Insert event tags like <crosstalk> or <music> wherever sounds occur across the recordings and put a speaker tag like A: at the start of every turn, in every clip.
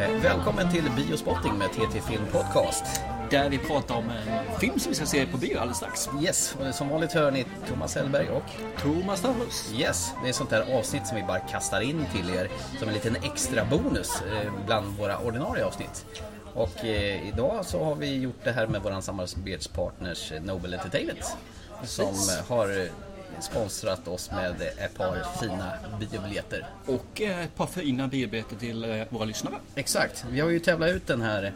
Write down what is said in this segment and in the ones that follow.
A: Eh, Välkommen till Biospotting med TT Film Podcast.
B: Där vi pratar om en film som vi ska se på bio alldeles strax.
A: Yes, och som vanligt hör ni Thomas Hellberg och
B: Thomas Davros.
A: Yes, det är sånt här avsnitt som vi bara kastar in till er som en liten extra bonus eh, bland våra ordinarie avsnitt. Och eh, idag så har vi gjort det här med våran samarbetspartners eh, Nobel Entertainment som
B: Precis.
A: eh, har eh, sponsrat oss med eh, ett par fina biobiljetter.
B: Och eh, ett par fina biobiljetter till eh, våra lyssnare.
A: Exakt, vi har ju tävlat ut den här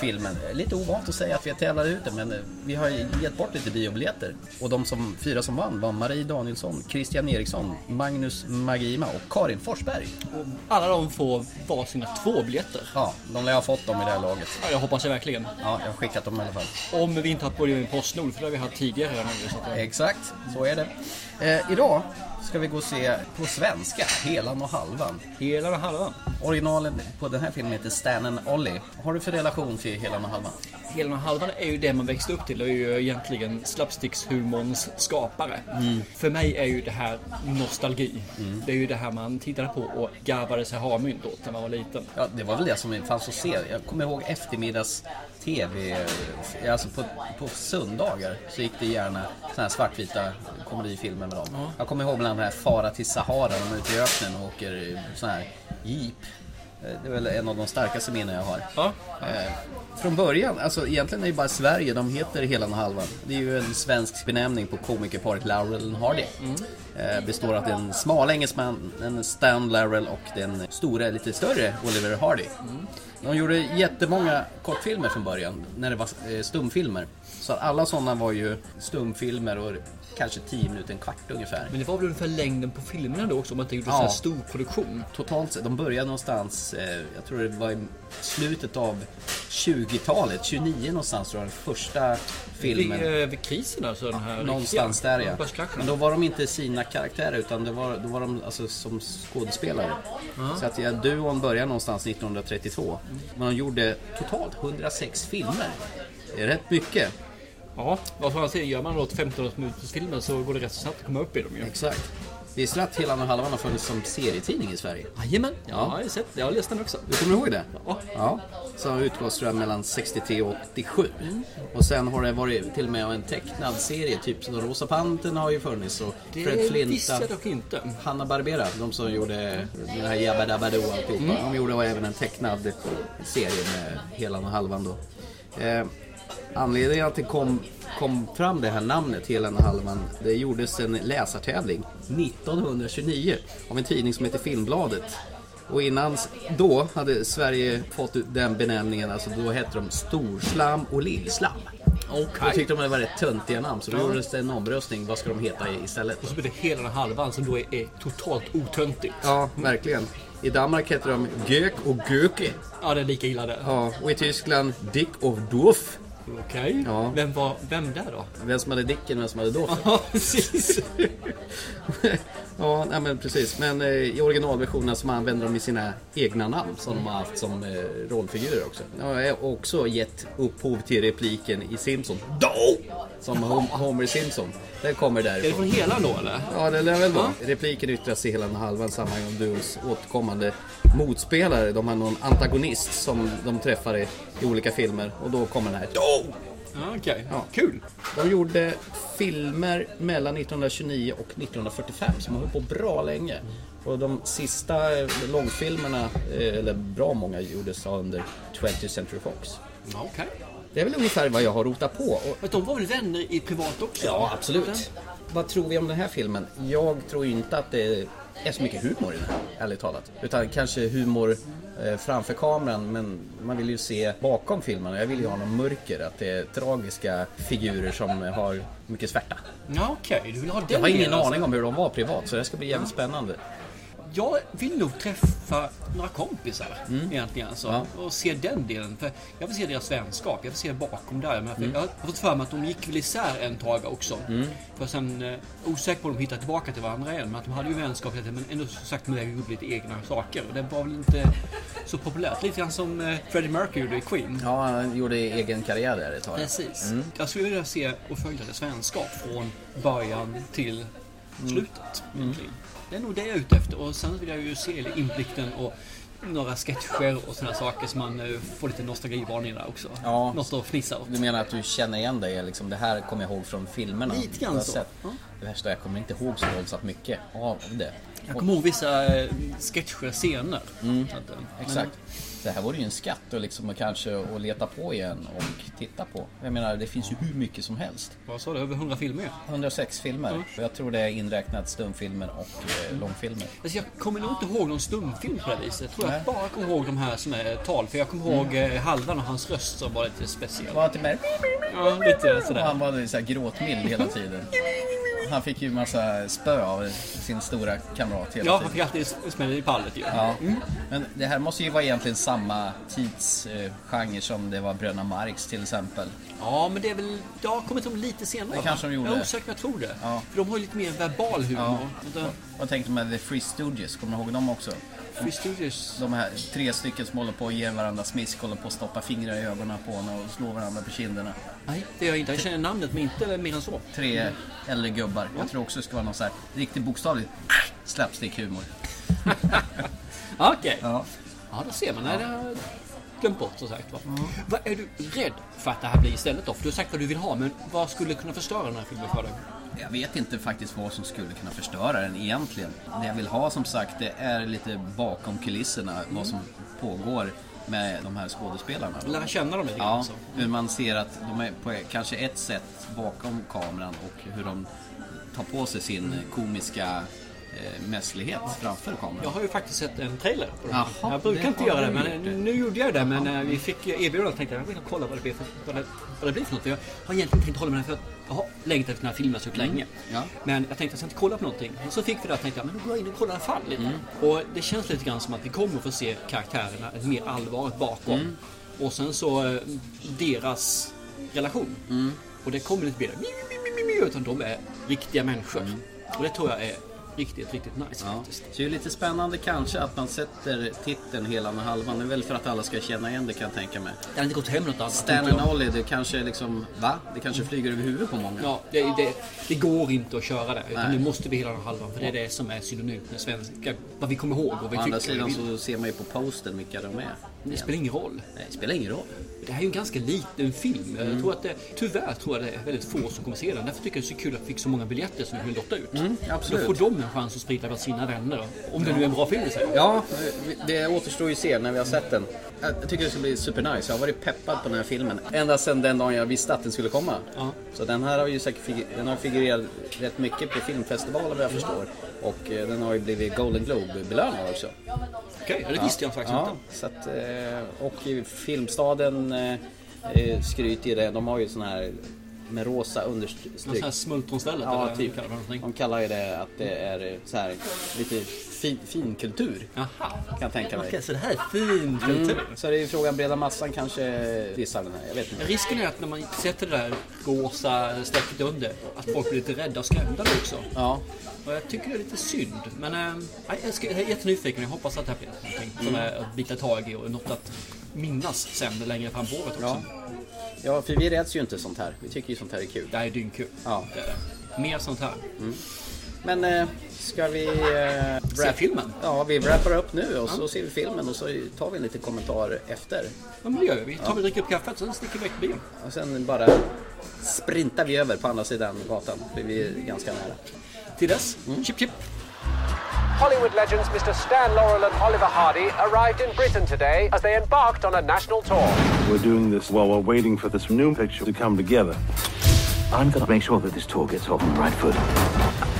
A: filmen. Lite ovant att säga att vi har tävlat ut den men eh, vi har gett bort lite biobiljetter. Och de som, fyra som vann var Marie Danielsson, Christian Eriksson, Magnus Magima och Karin Forsberg.
B: Och alla de får var sina två biljetter.
A: Ja, de lär ha fått dem i det här laget.
B: Ja, jag hoppas det verkligen.
A: Ja, jag har skickat dem i alla fall.
B: Om vi inte har problem med Postnord, för det har vi haft tidigare. redan nu, så att, eh,
A: Exakt, så är det. Eh, idag ska vi gå och se på svenska, Helan och halvan.
B: Hela den halvan.
A: Originalen på den här filmen heter Stan and Ollie. Har du för relation till Helan och halvan?
B: Hela den halvan är ju det man växte upp till och är ju egentligen slapstickshumorns skapare. För mig är ju det här nostalgi. Det är ju det här man tittade på och garvade sig harmynt åt när man var liten.
A: Ja, det var väl det som fanns att se. Jag kommer ihåg eftermiddags TV, alltså på, på söndagar så gick det gärna såna här svartvita komedifilmer med dem. Jag kommer ihåg bland annat den här Fara till Sahara, de är ute i öknen och åker eh, sån här jeep. Eh, Det är väl en av de starkaste minnen jag har.
B: Ja,
A: Eh, Från början, alltså egentligen är det bara Sverige de heter hela den halvan. Det är ju en svensk benämning på komikerparet Laurel and Hardy. Eh, Består av den smala engelsman, en Stan Laurel och den stora, lite större Oliver Hardy. De gjorde jättemånga kortfilmer från början, när det var eh, stumfilmer. Så att alla sådana var ju stumfilmer och kanske 10 minuter, en kvart ungefär.
B: Men det var väl ungefär längden på filmerna då också om man inte gjorde
A: Ja.
B: en sån här stor produktion.
A: totalt sett, de började någonstans, eh, jag tror det var i slutet av 20-talet, 29 någonstans tror jag, den första filmen.
B: Vid, eh, vid krisen alltså den här
A: Någonstans där ja. Men
B: Börskraschen.
A: då var de inte sina karaktärer utan det var, då var de alltså, som skådespelare. Så att ja, duon började någonstans 1932. Men de gjorde totalt 106 filmer. Det är rätt mycket.
B: Ja, vad fan säger gör man då 15 minuters filmer så går det rätt så snabbt att komma upp i dem ju.
A: Exakt. Visste du att Helan och Halvan har funnits som serietidning i Sverige?
B: Jajamän, ja. jag har ju sett det. Jag har läst den också.
A: Du kommer ihåg det?
B: Ja.
A: Ja, som utgavs tror jag mellan 63 och 87.
B: Mm.
A: Och sen har det varit till och med en tecknad serie, typ som Rosa Pantern har ju funnits och Fred
B: Det visste jag
A: Flinta.
B: dock inte.
A: Hanna Barbera, de som gjorde den här Jabba Dabba Doo och alltihopa. De gjorde även en tecknad serie med Helan och Halvan då. Eh, anledningen att det kom, kom fram det här namnet, Helan och Halvan, det gjordes en läsartävling 1929 av en tidning som heter Filmbladet. Och innan s- då hade Sverige fått ut den benämningen, alltså då hette de Storslam och Lillslam. Då
B: Okej.
A: tyckte de det var rätt töntiga namn så då gjordes det en omröstning, vad ska de heta istället?
B: Och så blir det hela den halvan som då är, är totalt otöntigt.
A: Ja, verkligen. I Danmark heter de Gök och Göke.
B: Ja, det är lika illa där.
A: Ja, och i Tyskland Dick och Dorf.
B: Okej.
A: Ja.
B: Vem var, vem där då? <laughs>
A: Vem som hade Dicken, vem som hade Dorf.
B: Ja, precis.
A: <laughs> ja, nej, men precis. Men eh, i originalversionen så använder de ju sina egna namn som de har haft som eh, rollfigurer också. De har också gett upphov till repliken i Simpsons. Då! Som Hom- Homer Simpson. Den kommer
B: Är det
A: därifrån.
B: från hela då eller?
A: Ja, det lär väl vara. Repliken yttras i hela den halvan samma gång duons återkommande motspelare. De har någon antagonist som de träffar i, i olika filmer och då kommer den här. Då!
B: Ja, Okej,
A: Ja.
B: kul.
A: De gjorde filmer mellan 1929 och 1945 som höll på bra länge. Och de sista eh, långfilmerna, eh, eller bra många, gjordes under 20th Century Fox.
B: Ja, Okej.
A: Det är väl ungefär vad jag har rotat på. Och
B: Men de var väl vänner i privat också?
A: Ja, absolut. Vad tror vi om den här filmen? Jag tror ju inte att det är så mycket humor i den här, ärligt talat. Utan kanske humor eh, framför kameran, men man vill ju se bakom filmen. Och Jag vill ju ha någon mörker, att det är tragiska figurer som har mycket svärta.
B: Ja, okej. Du vill ha den
A: Jag har ingen
B: delen, alltså.
A: aning om hur de var privat, så det här ska bli jävligt spännande.
B: Jag vill nog träffa några kompisar egentligen alltså,
A: Mm. Ja.
B: och se den delen. För jag vill se deras vänskap, jag vill se bakom där. Men för
A: Mm.
B: Jag har fått för mig att de gick väl isär en tag också. För sen, eh, osäker på om de hittade tillbaka till varandra igen. Men att de hade ju vänskap hela tiden, men ändå som sagt med gjorde lite egna saker. Och det var väl inte så populärt. Lite grann som eh, Freddie Mercury gjorde i Queen.
A: Ja, han gjorde egen karriär där ett tag.
B: Precis. Jag skulle vilja se och följa deras vänskap från början till
A: Mm.
B: slutet. egentligen. Det är nog det jag är ute efter. Och sen vill jag ju se inplikten och några sketcher och sådana saker som man eh, får lite nostalgivarning där också.
A: Ja.
B: Något att fnissa åt.
A: Du menar att du känner igen dig? Liksom, det här kommer jag ihåg från filmerna.
B: Lite grann
A: du har
B: så.
A: sett.
B: Ja.
A: Det värsta, jag kommer inte ihåg så våldsamt mycket av det.
B: Jag kommer ihåg vissa eh, sketcher, scener. Så att, eh, men-
A: Mm. Exakt. Det här vore ju en skatt att liksom, kanske att leta på igen och titta på. Jag menar, det finns ju hur mycket som helst.
B: Vad sa du? Över 100 filmer?
A: 106 filmer. Och jag tror det är inräknat stumfilmer och eh, långfilmer.
B: Alltså jag kommer nog inte ihåg någon stumfilm på det viset. Jag tror
A: Nej. Mm.
B: jag bara kommer ihåg de här som är tal. För jag kommer ihåg eh, Halvan och hans röst som var lite speciell.
A: Var inte med.
B: Ja, lite
A: Och
B: sådär.
A: han var så här gråtmild hela tiden. Han fick ju massa spö av sin stora kamrat hela
B: Ja, Mm. han
A: tiden.
B: fick alltid smäll i pallet ju.
A: Ja. Men det här måste ju vara egentligen samma tidsgenre som det var Bröderna Marx till exempel.
B: Ja, men det är väl... Det har kommit om lite senare.
A: Det
B: va?
A: kanske de gjorde.
B: Jag är osäker, men jag tror det.
A: Ja.
B: För de har ju lite mer verbal humor. Vänta,
A: Vad tänkte man The Free Studios, kommer du ihåg dem också?
B: Free Studios.
A: De här tre stycken som håller på att ge varandra smisk, håller på att stoppa fingrar i ögonen på honom och slå varandra på kinderna.
B: Nej, det gör jag inte. Jag känner namnet, men inte mer än så.
A: Tre äldre gubbar. Jag tror också det ska vara någon så här riktigt bokstavligt slapstick-humor.
B: Ah, Okej.
A: Ja.
B: Ja, det ser man. Nej, det har jag glömt bort som sagt. Va? Vad är du rädd för att det här blir istället då? För du har sagt vad du vill ha, men vad skulle kunna förstöra den här filmen för dig?
A: Jag vet inte faktiskt vad som skulle kunna förstöra den egentligen. Det jag vill ha som sagt det är lite bakom kulisserna vad som pågår med de här skådespelarna.
B: Lära känna dem lite grann. alltså.
A: Ja,
B: Så.
A: hur man ser att de är på kanske ett sätt bakom kameran och hur de tar på sig sin
B: Mm.
A: komiska eh, mässlighet framför
B: Jag
A: kameran.
B: har ju faktiskt sett en trailer på den. här.
A: Jaha,
B: jag brukar
A: det
B: inte
A: har
B: göra det,
A: du
B: men
A: gjort det.
B: nu gjorde jag det. Men eh, vi fick ju erbjudandet och tänkte jag vill kolla vad det blir för, vad det, vad det blir för något. För jag har egentligen tänkt hålla mig för att jag har längtat efter den här filmen så länge.
A: Mm. Ja.
B: Men jag tänkte jag ska inte kolla på någonting. Och så fick vi det och tänkte jag, men då går jag in och kollar i alla fall
A: Mm.
B: lite. Och det känns lite grann som att vi kommer få se karaktärerna ett mer allvaret bakom.
A: Mm.
B: Och sen så eh, deras relation.
A: Mm.
B: Och det kommer inte bli mi, mi, mi, mi, mi, utan de är riktiga människor. Och det tror jag är riktigt, riktigt nice
A: Mm. Ja.
B: faktiskt.
A: Så det är ju lite spännande kanske att man sätter titeln hela med halvan. Det är väl för att alla ska känna igen det kan jag tänka mig.
B: Det hade inte gått hem något annat.
A: Stan
B: tror
A: and
B: jag. Mm.
A: Ollie, det kanske liksom, va? Det kanske flyger över huvudet på många.
B: Ja, det, det, det går inte att köra det. Utan
A: Nej.
B: nu måste vi hela den halvan. För det är det som är synonymt med svenska. Vad vi kommer ihåg och vad vi
A: Å
B: tycker.
A: andra
B: och
A: sidan
B: vi
A: så
B: vill.
A: ser man ju på posten vilka de är.
B: Det spelar ingen roll.
A: Nej, det spelar ingen roll.
B: Det här är ju en ganska liten film.
A: Mm.
B: Jag tror att det, tyvärr tror jag det är väldigt få som kommer se den. Därför tycker jag det är så kul att vi fick så många biljetter som vi kunde lotta ut.
A: Mm, absolut.
B: Då får de en chans att sprida bland sina vänner. Om det nu är en bra film i sig.
A: Ja, det återstår ju att se när vi har sett den. Jag tycker det ska bli supernice. Jag har varit peppad på den här filmen ända sedan den dagen jag visste att den skulle komma.
B: Ja.
A: Så den här har ju säkert figu- den har figurerat rätt mycket på filmfestivaler vad jag förstår. Och eh, den har ju blivit Golden Globe-belönad också.
B: Okej, ja, det visste jag faktiskt
A: Ja,
B: inte.
A: så att, eh, och i Filmstaden eh, eh, skryter ju det. De har ju sån här med rosa
B: Någon sån
A: understryk.
B: här smultronstället
A: Ja,
B: eller
A: typ.
B: vad man kallar det för någonting.
A: De kallar ju det att det är eh, så här lite fin, finkultur.
B: Jaha.
A: Kan jag tänka mig.
B: Okej, så det här är fin kultur.
A: Så det är ju frågan, breda massan kanske dissar den här, jag vet inte.
B: Risken är att när man sätter det där rosa strecket under, att folk blir lite rädda och skrämda då också.
A: Ja,
B: Och jag tycker det är lite synd. Men eh, nej, jag, ska, jag är jättenyfiken. Jag hoppas att det här blir någonting som är att bita tag i och något att minnas sen längre fram på året också.
A: ja. ja, för vi räds ju inte sånt här. Vi tycker ju sånt här är kul.
B: Det här är dyngkul.
A: Ja.
B: Det är det. Mer sånt här.
A: Men eh, ska vi... Eh,
B: Se filmen.
A: Ja, vi wrappar upp nu och så ser vi filmen och så tar vi en liten kommentar efter.
B: Ja, men det gör vi. Vi tar och dricker upp kaffet, sen sticker vi iväg till bion.
A: Och sen bara sprintar vi över på andra sidan gatan, för vi är ganska nära.
B: Till dess, chip chip.
C: Hollywood legends Mr. Stan Laurel and Oliver Hardy arrived in Britain today as they embarked on a national tour.
D: We're doing this while we're waiting for this new picture to come together.
E: I'm gonna make sure that this tour gets off on the right foot.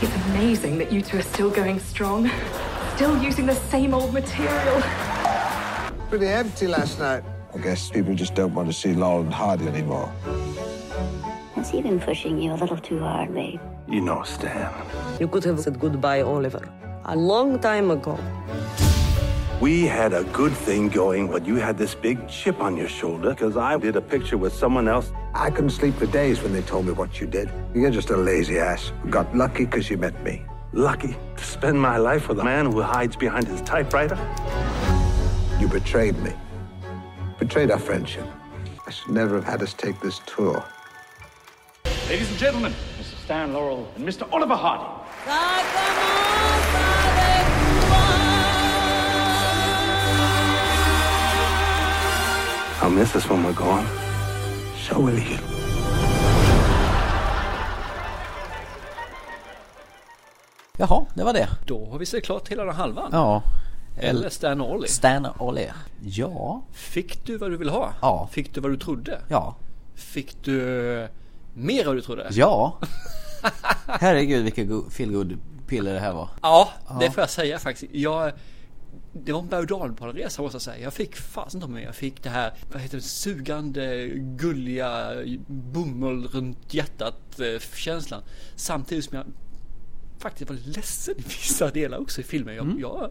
F: It's amazing that you two are still going strong, still using the same old material.
G: Pretty empty last night.
H: I guess people just don't want to see Laurel and Hardy anymore.
I: I see them pushing you a little too hard, babe.
D: You know, Stan.
J: You could have said goodbye, Oliver, a long time ago.
D: We had a good thing going, but you had this big chip on your shoulder because I did a picture with someone else.
H: I couldn't sleep for days when they told me what you did. You're just a lazy ass. who Got lucky because you met me.
D: Lucky to spend my life with a man who hides behind his typewriter.
H: You betrayed me. Betrayed our friendship. I should never have had us take this tour.
E: Ladies and gentlemen, Mr. Stan Laurel and Mr. Oliver Hardy.
D: I'll miss us when we're gone.
K: So will you.
L: Jaha, det var det.
B: Då har vi sett klart hela den halvan.
L: Ja.
B: Eller Stan och Ollie.
L: Stan Ollie. Ja.
B: Fick du vad du ville ha?
L: Ja.
B: Fick du vad du trodde?
L: Ja.
B: Fick du eh, mer än vad du trodde?
A: <laughs>
L: Ja. Herregud vilken go- feelgood piller det här var.
B: Ja, det
L: Ja.
B: får jag säga faktiskt. Jag, det var en berg och resa måste jag säga. Jag fick fasen inte mer. Jag fick det här vad heter det, sugande, gulliga bomull runt hjärtat eh, känslan. Samtidigt som jag faktiskt var ledsen i vissa delar också i filmen. Jag, jag,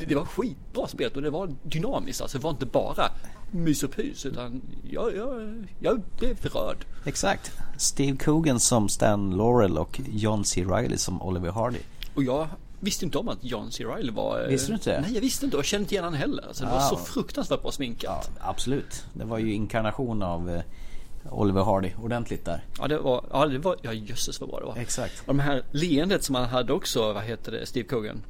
B: det, det var skitbra spelat och det var dynamiskt. Alltså det var inte bara mys och pys utan jag, jag, jag blev rörd.
L: Exakt. Steve Coogan som Stan Laurel och John C. Reilly som Oliver Hardy.
B: Och jag visste inte om att John C. Reilly var... eh,
L: Visste du inte det?
B: Nej, jag visste inte. och Jag kände inte igen honom heller. Alltså, det var
L: Ah.
B: så fruktansvärt bra sminkat. Ja.
L: Absolut. Det var ju inkarnation av eh, Oliver Hardy ordentligt där.
B: det var, ja det var, ja jösses vad bra det var.
L: Exakt.
B: Och det här leendet som han hade också, vad heter det, Steve Coogan.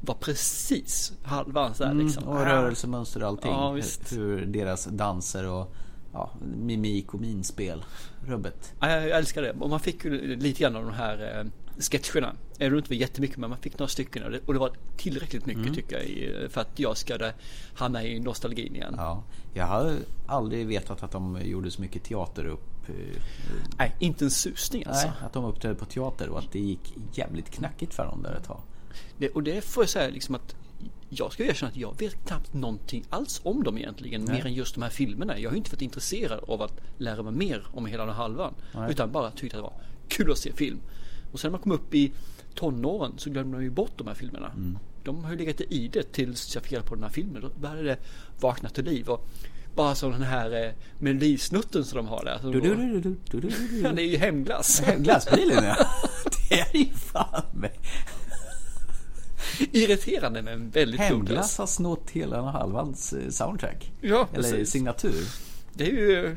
B: Var precis halva hans där
L: Mm,
B: liksom.
L: och rörelsemönster och allting.
B: Ja, visst.
L: Hur, hur deras danser och ja, mimik och minspel. Rubbet.
B: Ja, jag jag älskar det. Och man fick ju lite grann av de här eh, sketcherna. Även om det inte var jättemycket, men man fick några stycken. Och det, och det var tillräckligt mycket
L: Mm.
B: tycker jag i- för att jag ska eh, hamna i nostalgin igen.
L: Ja. Jag har aldrig vetat att de gjorde så mycket teater upp. eh,
B: Nej, inte en susning alltså.
L: Nej, att de uppträdde på teater och att det gick jävligt knackigt för dem där ett tag.
B: Det, och det får jag säga liksom att jag ska ju erkänna att jag vet knappt någonting alls om dem egentligen.
L: Nej.
B: Mer än just de här filmerna. Jag har ju inte varit intresserad av att lära mig mer om hela den här halvan.
L: Nej.
B: Utan bara tyckte att det var kul att se film. Och sen när man kom upp i tonåren så glömde man ju bort de här filmerna.
L: Mm.
B: De har ju legat i det tills jag fick reda på den här filmen. Då började det vakna till liv. Och bara som den här eh, melodisnutten som de har där. Som
L: Du, du,
B: går-
L: du, du, du, du, du.
B: Ja, det är ju hemglass.
L: Glassbilen ja. <laughs> Det är ju fan mig.
B: <laughs> Irriterande men väldigt god glass.
L: Hemglass har snott hela den halvans eh, soundtrack.
B: Ja,
L: Eller
B: precis.
L: signatur.
B: Det är ju eh,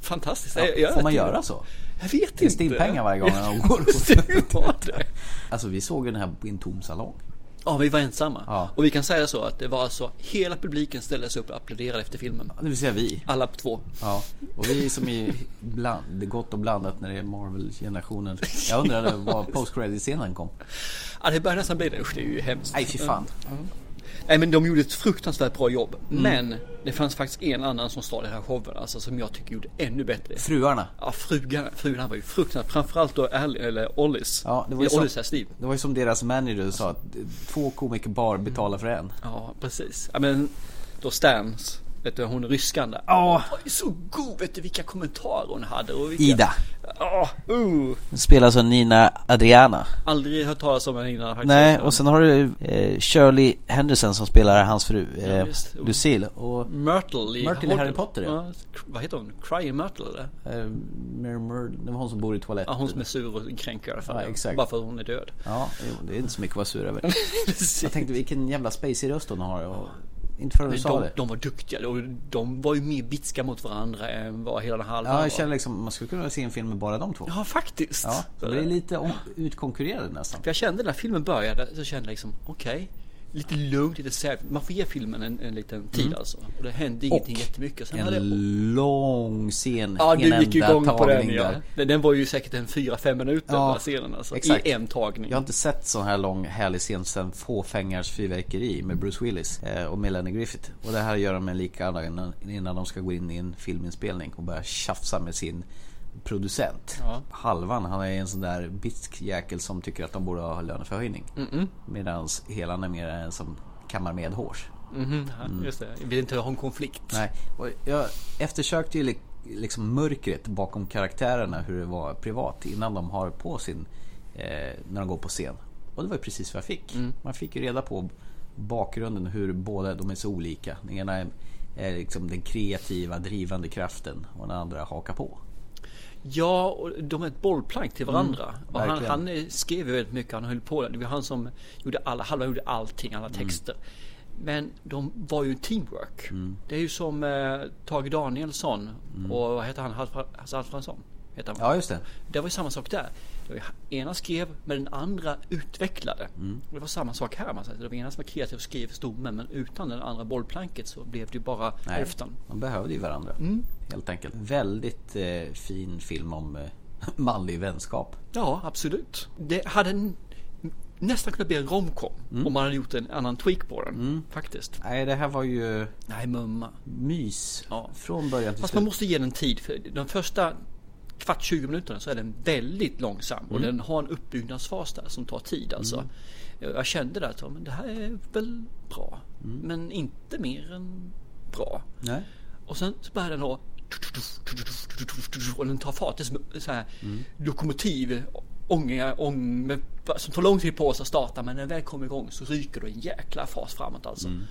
B: fantastiskt.
L: Ja,
B: Jag- jag-
L: får man göra så?
B: Jag vet
L: Det är
B: inte.
L: stimpengar
B: <laughs>
L: varje gång när de <laughs> går
B: Just det, var det.
L: Alltså vi såg ju den här i en tom salong.
B: Ja, vi var ensamma.
L: Ja.
B: Och vi kan säga så att det var alltså hela publiken ställde sig upp och applåderade efter filmen.
L: Det vill säga vi.
B: Alla två.
L: Ja, och vi som är bland, det är gott och blandat när det är Marvel-generationen. Jag undrade var post-credit-scenen kom.
B: Ja, det började nästan bli det. Usch, det är ju hemskt.
L: Nej, fy fan. Mm.
B: Nej, men de gjorde ett fruktansvärt bra jobb. Men det fanns faktiskt en annan som stal den här showen, alltså som jag tycker gjorde ännu bättre.
L: Fruarna.
B: Ja, frugan, frugan var ju fruktansvärt. Framförallt då Al, eller Ollis.
L: Ja, det var ju
B: Eller
L: som,
B: Ollis här, Steve.
L: det var ju som deras manager sa att eh, två komiker bara betalar för en.
B: Ja, precis. Ja, men då Stans, vet du, hon ryskan där.
L: Ja.
B: Hon var ju så god, vet du vilka kommentarer hon hade. Och vilka...
L: Ida.
B: Ja, uh.
L: Spelas av Nina Adriana.
B: Aldrig hört talas om henne innan faktiskt.
L: Nej, och sen har du eh, Shirley Henderson som spelar hans fru eh,
B: Ja, visst. Mm.
L: Lucille och
B: Myrtle i
L: Myrtle i Harry Potter, ja.
B: k- Vad heter hon? Crying Myrtle eller?
L: eh, Mary Mur- det var hon som bor i toaletten.
B: Ja, hon som är sur och kränker i alla fall.
L: Ja, exakt.
B: Bara för att hon är död.
L: Ja, jo, det är inte så mycket att vara
B: <laughs>
L: sur över.
B: Precis.
L: Jag tänkte vilken jävla spacey röst hon har. Och, inte förrän du
B: <laughs> De,
L: sa det.
B: de var duktiga och de var ju mer bitska mot varandra än vad hela den halvan
L: Ja,
B: var.
L: jag känner liksom, man skulle kunna se en film med bara de två.
B: Ja, faktiskt.
L: Ja, så det är lite om, utkonkurrerade nästan.
B: För jag kände när filmen började så kände jag liksom okej. lite lugnt, lite sävt. Man får ge filmen en, en liten tid alltså. Och det hände ingenting jättemycket. Sen hade
L: Mm. En
B: jag...
L: lång scen.
B: Ja,
L: en
B: du gick ju
L: enda
B: igång på den
L: tagning
B: ja.
L: där.
B: Den, den var ju säkert en 4-5 minuter
L: Ja,
B: den här scenen alltså.
L: exakt.
B: I en tagning.
L: Jag har inte sett sån här lång härlig scen sen Fåfängars fyrverkeri med Bruce Willis eh, och Melanie Griffith. Och det här gör de en likadant innan, innan de ska gå in i en filminspelning och börja tjafsa med sin producent.
B: Ja.
L: Halvan, han är en sån där bitsk jäkel som tycker att de borde ha löneförhöjning. Mm-mm. Medan Helan är mer en som kammar med
B: Mhm, ja,
L: Mm.
B: Just det. Jag vill inte ha en konflikt.
L: Nej, och jag eftersökte ju li- liksom mörkret bakom karaktärerna hur det var privat innan de har på sin, eh, när de går på scen. Och det var ju precis vad jag fick. Man fick ju reda på bakgrunden hur båda de är så olika. Den ena är, är liksom den kreativa drivande kraften och den andra hakar på.
B: Ja, och de är ett bollplank till varandra. och han,
L: Mm, verkligen.
B: han eh, skrev ju väldigt mycket, han höll på. Det var han som gjorde alla, halva gjorde allting,
L: Mm.
B: alla texter. Men de var ju
L: Mm.
B: teamwork. Det är ju som eh, Tage Danielsson och vad heter han, Hasse Alfredsson? Heter han.
L: Ja, just det.
B: Det var ju samma sak där. Det var ju- Ena skrev men den andra utvecklade.
L: Mm.
B: Och det var samma sak här. Man säger. Det var ena som var kreativ och skrev stommen men utan den andra bollplanket så blev det ju bara hälften.
L: de behövde ju varandra. Helt enkelt. Väldigt eh, fin film om eh, <laughs> manlig vänskap.
B: Ja, absolut. Det hade n- nästan kunnat bli en romcom
L: Mm.
B: om man hade gjort en annan tweak på den. Faktiskt.
L: Nej, det här var ju...
B: Nej, mumma.
L: Mys. Från början till
B: Fast
L: slut.
B: man måste ge den tid. För de första kvart 20 minuterna så är den väldigt långsam. Och
L: Mm.
B: den har en uppbyggnadsfas där som tar tid alltså.
L: Mm.
B: Jag kände där att ja, men det här är väl bra. Men inte mer än bra.
L: Mm. Nej.
B: Och sen så börjar den då och den tar fart. Det är som så här lokomotiv ånga, ång, med- som tar lång tid på sig att starta men när den väl kommer igång så ryker det en jäkla fart framåt alltså.
L: Mm.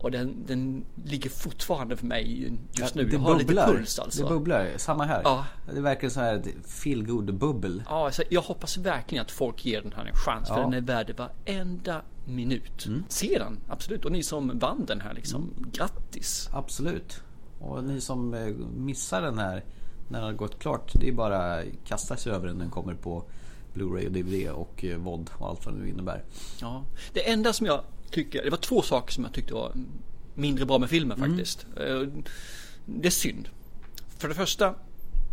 B: Och den, den ligger fortfarande för mig just nu.
L: Det
B: Jag har
L: bubblar.
B: lite puls alltså.
L: Det bubblar. Samma här.
B: Ja.
L: Det är verkligen så här feel good bubbel
B: Ja, alltså, jag hoppas verkligen att folk ger den här en chans. För
L: Ja. Mm.
B: den är värd varenda minut. Se den, absolut. Och ni som vann den här liksom, grattis.
L: Absolut. Och ni som eh, missar den här när den har gått klart. Det är bara att kasta sig över den. Den kommer på Blu-ray och DVD och eh, VOD och allt vad det nu innebär.
B: Ja. Det enda som jag tycker, det var två saker som jag tyckte var mindre bra med filmen
L: Mm.
B: faktiskt. Eh, Det är synd. För det första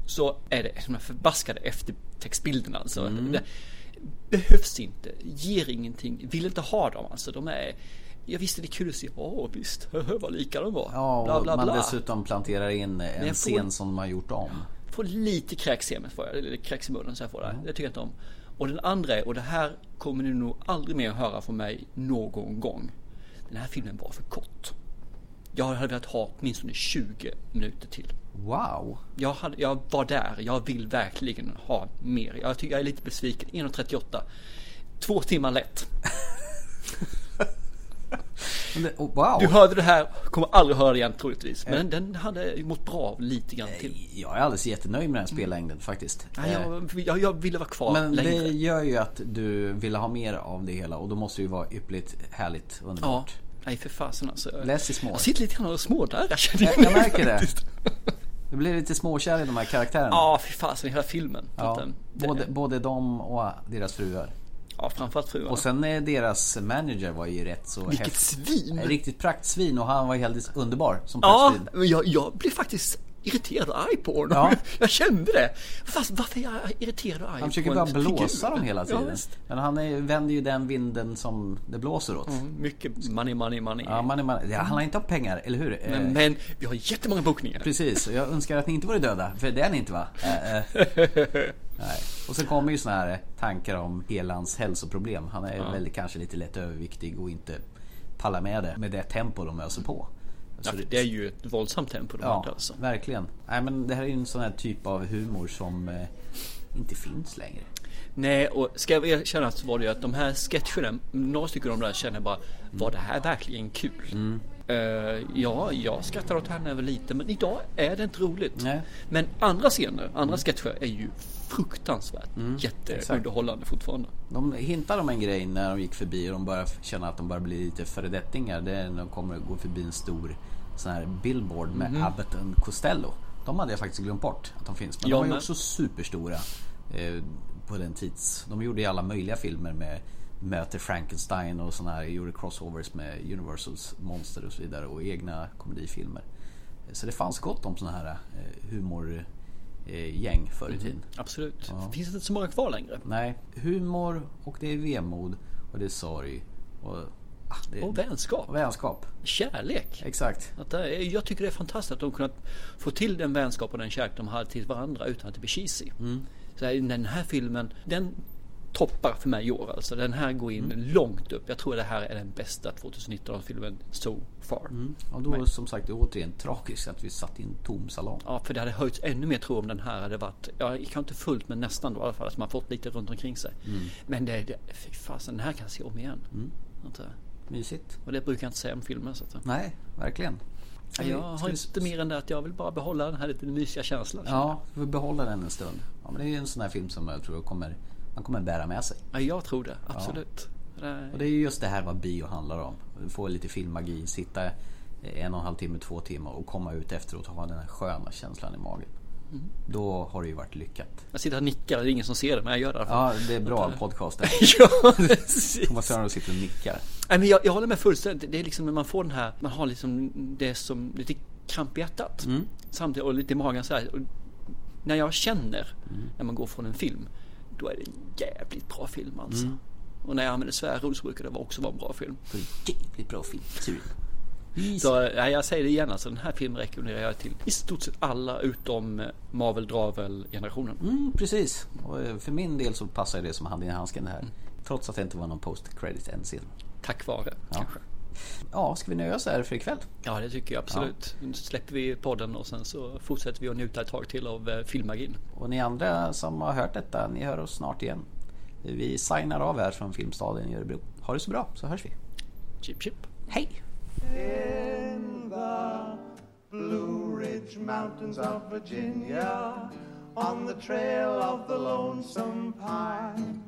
B: så är det de här förbaskade eftertextbilderna. Alltså.
L: Mm.
B: Det behövs inte, ger ingenting, vill inte ha dem. Alltså, de är, jag visste det är kul att se, åh visst, <laughs> vad lika de var.
L: Ja, och
B: bla, bla,
L: man
B: bla.
L: dessutom planterar in en
B: jag får-
L: scen som de har gjort om.
B: Får lite kräks i mig, får jag, eller kräks i munnen så jag får det. Det tycker jag inte om. Och den andra är, och det här kommer ni nog aldrig mer höra från mig någon gång. Den här filmen var för kort. Jag hade velat ha åtminstone 20 minuter till.
L: Wow!
B: Jag, hade, jag var där, jag vill verkligen ha mer. Jag tycker jag är lite besviken. 1.38. Två timmar lätt.
L: Men det- oh, Wow!
B: Du hörde det här, kommer aldrig höra det igen troligtvis. Men den hade mått bra av lite grann till.
L: Jag är alldeles jättenöjd med den här spellängden faktiskt.
B: Nej,
L: Eh,
B: jag, jag, jag ville vara kvar
L: Men
B: längre.
L: det gör ju att du vill ha mer av det hela och då måste det ju vara ypperligt, härligt,
B: Ja,
L: underbart.
B: nej för fasen alltså.
L: Läs i små.
B: Jag sitter lite grann och smådarrar känner
L: Jag, jag
B: nu
L: märker det.
B: faktiskt.
L: Du blir lite småkär i de här karaktärerna.
B: Ja, fy fasen hela filmen. Så att,
L: Ja,
B: eh, det-
L: både, både de och deras fruar.
B: ja framförallt fruarna.
L: Och sen är deras manager var ju rätt så
B: Vilket svin!
L: Ett Riktigt praktsvin och han var ju helt underbar som
B: ja,
L: praktsvin.
B: men jag, jag blev faktiskt irriterad och arg på honom.
L: Ja.
B: <laughs> Jag kände det. Fast varför är jag irriterad och arg
L: Han försöker
B: på
L: bara
B: en
L: blåsa
B: figur?
L: dem hela
B: Ja,
L: tiden.
B: visst.
L: Men han är, vänder ju den vinden som det blåser åt.
B: Mm, mycket money, money, money.
L: Ja, man är, man, ja, han har inte haft pengar, eller hur? Eh,
B: men, men vi har jättemånga bokningar.
L: Precis, och jag önskar att ni inte vore döda, för det är ni inte va? Eh, eh. Nej. Och sen kommer ju såna här eh, tankar om hela hans hälsoproblem. Han är
B: Ja.
L: väl kanske lite lätt överviktig och inte pallar med det med det tempo de öser på.
B: Ja, för det är ju ett våldsamt tempo de
L: Ja,
B: hade alltså.
L: verkligen. Nej, men det här är ju en sån här typ av humor som eh, inte finns längre.
B: Nej, och ska jag erkänna så var det ju att de här sketcherna, några stycken av de där känner bara, var det här verkligen kul?
L: Mm.
B: Eh, ja, jag skrattar åt henne väl lite, men idag är det inte roligt.
L: Nej.
B: Men andra scener, andra sketcher är ju fruktansvärt
L: Mm,
B: jätteunderhållande fortfarande.
L: De hintar om en grej när de gick förbi och de börjar känna att de börjar bli lite föredettingar. Det är när de kommer att gå förbi en stor sån här billboard med
B: Mhm.
L: Abbott and Costello. De hade jag faktiskt glömt bort att de finns. Men
B: Jag
L: de var ju
B: med.
L: också superstora eh, på den tids... De gjorde ju alla möjliga filmer med Möter Frankenstein och såna här. Gjorde crossovers med Universals monster och så vidare. Och egna komedifilmer. Så det fanns gott om såna här eh, humorgäng förr i tiden.
B: Absolut.
L: Ja.
B: Det finns inte så många kvar längre.
L: Nej, humor och det är vemod och det är sorg. Och, ah, det
B: Och vänskap.
L: och vänskap.
B: Kärlek.
L: Exakt.
B: Att det är, jag tycker det är fantastiskt att de kunnat få till den vänskap och den kärlek de hade till varandra utan att det blir cheesy.
L: Mm.
B: Så här, den här filmen, den toppar för mig i år alltså. Den här går in
L: Mm.
B: långt upp. Jag tror det här är den bästa 2019-filmen so far. För
L: Och då
B: mig.
L: som sagt, det är återigen tragiskt att vi satt i en tom salong.
B: Ja, för det hade höjts ännu mer tror jag om den här hade varit, ja, kanske inte fullt men nästan då i alla fall, att man fått lite runt omkring sig.
L: Mm.
B: Men det, det, fy fasen, den här kan jag se om igen. Att, eh,
L: Mysigt.
B: Och det brukar jag inte säga om filmer. Så att, eh.
L: Nej, verkligen.
B: jag
L: Ska
B: har
L: vi-
B: inte mer än det att jag vill bara behålla den här lite mysiga känslan.
L: Ja, vi får behålla den en stund. Ja, men det är ju en sån här film som jag tror kommer, man kommer bära med sig.
B: Ja, jag tror det. Absolut.
L: Och det är ju just det här vad bio handlar om. Få lite filmmagi, sitta en och en halv timme, två timmar och komma ut efteråt och ha den här sköna känslan i magen.
B: Mm.
A: Då har det ju varit lyckat.
B: Jag sitter och nickar, det är ingen som ser det men jag gör det i alla
A: Ja,
B: fall.
A: det är bra podcast där.
B: <laughs> ja, precis.
A: Thomas Öhrn sitter och nickar.
B: Nej, men jag, jag håller med fullständigt. Det- Det är liksom när man får den här, man har liksom det som lite kramp i hjärtat. Samtidigt och lite i magen så här. Och när jag känner när man går från en film, då är det en jävligt bra film alltså.
A: Mm.
B: Och när jag använder svärord så brukar det också vara en bra film.
A: För jävligt bra film. Tur.
B: Så, nej, jag säger det igen alltså, den här filmen rekommenderar jag till i stort sett alla utom eh, Marvel Dravel-generationen.
A: Mm, precis. Och eh, för min del så passar det som handen i handsken det här. Trots att det inte var någon post-credit än scen.
B: Tack vare
A: ja.
B: kanske.
A: Ja, ska vi nöja oss här för ikväll?
B: Ja, det tycker jag absolut. Nu släpper vi podden och sen så fortsätter vi att njuta ett tag till av eh, filmmagin.
A: Och ni andra som har hört detta, ni hör oss snart igen. Vi signar av här från Filmstaden i Örebro. Ha det så bra, så hörs vi.
B: Chip chip.
A: Hej!
L: In the Blue Ridge Mountains of Virginia, on the trail of the lonesome pine.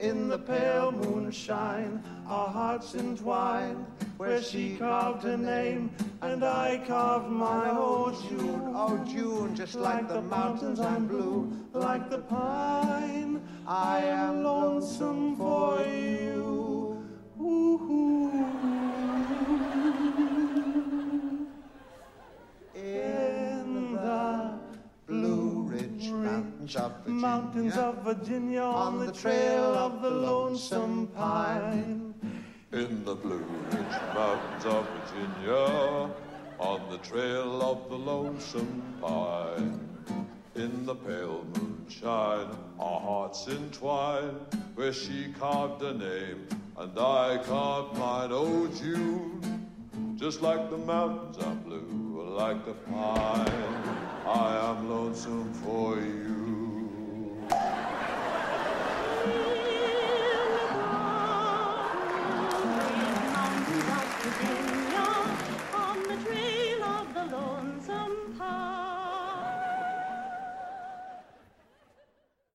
L: In the pale moonshine, our hearts entwined, where she carved her name and I carved mine. Oh, June, oh, June, just like the mountains, I'm blue, like the pine. I am lonesome for you. Ooh. In the Blue Ridge Mountains of Virginia, on the trail of the lonesome pine.
J: In the Blue Ridge Mountains of Virginia, on the trail of the lonesome pine. In the pale moonshine, our hearts entwine, where she carved her name and I carved mine. Oh, June, just like the mountains are blue, like the pine, I am lonesome for you.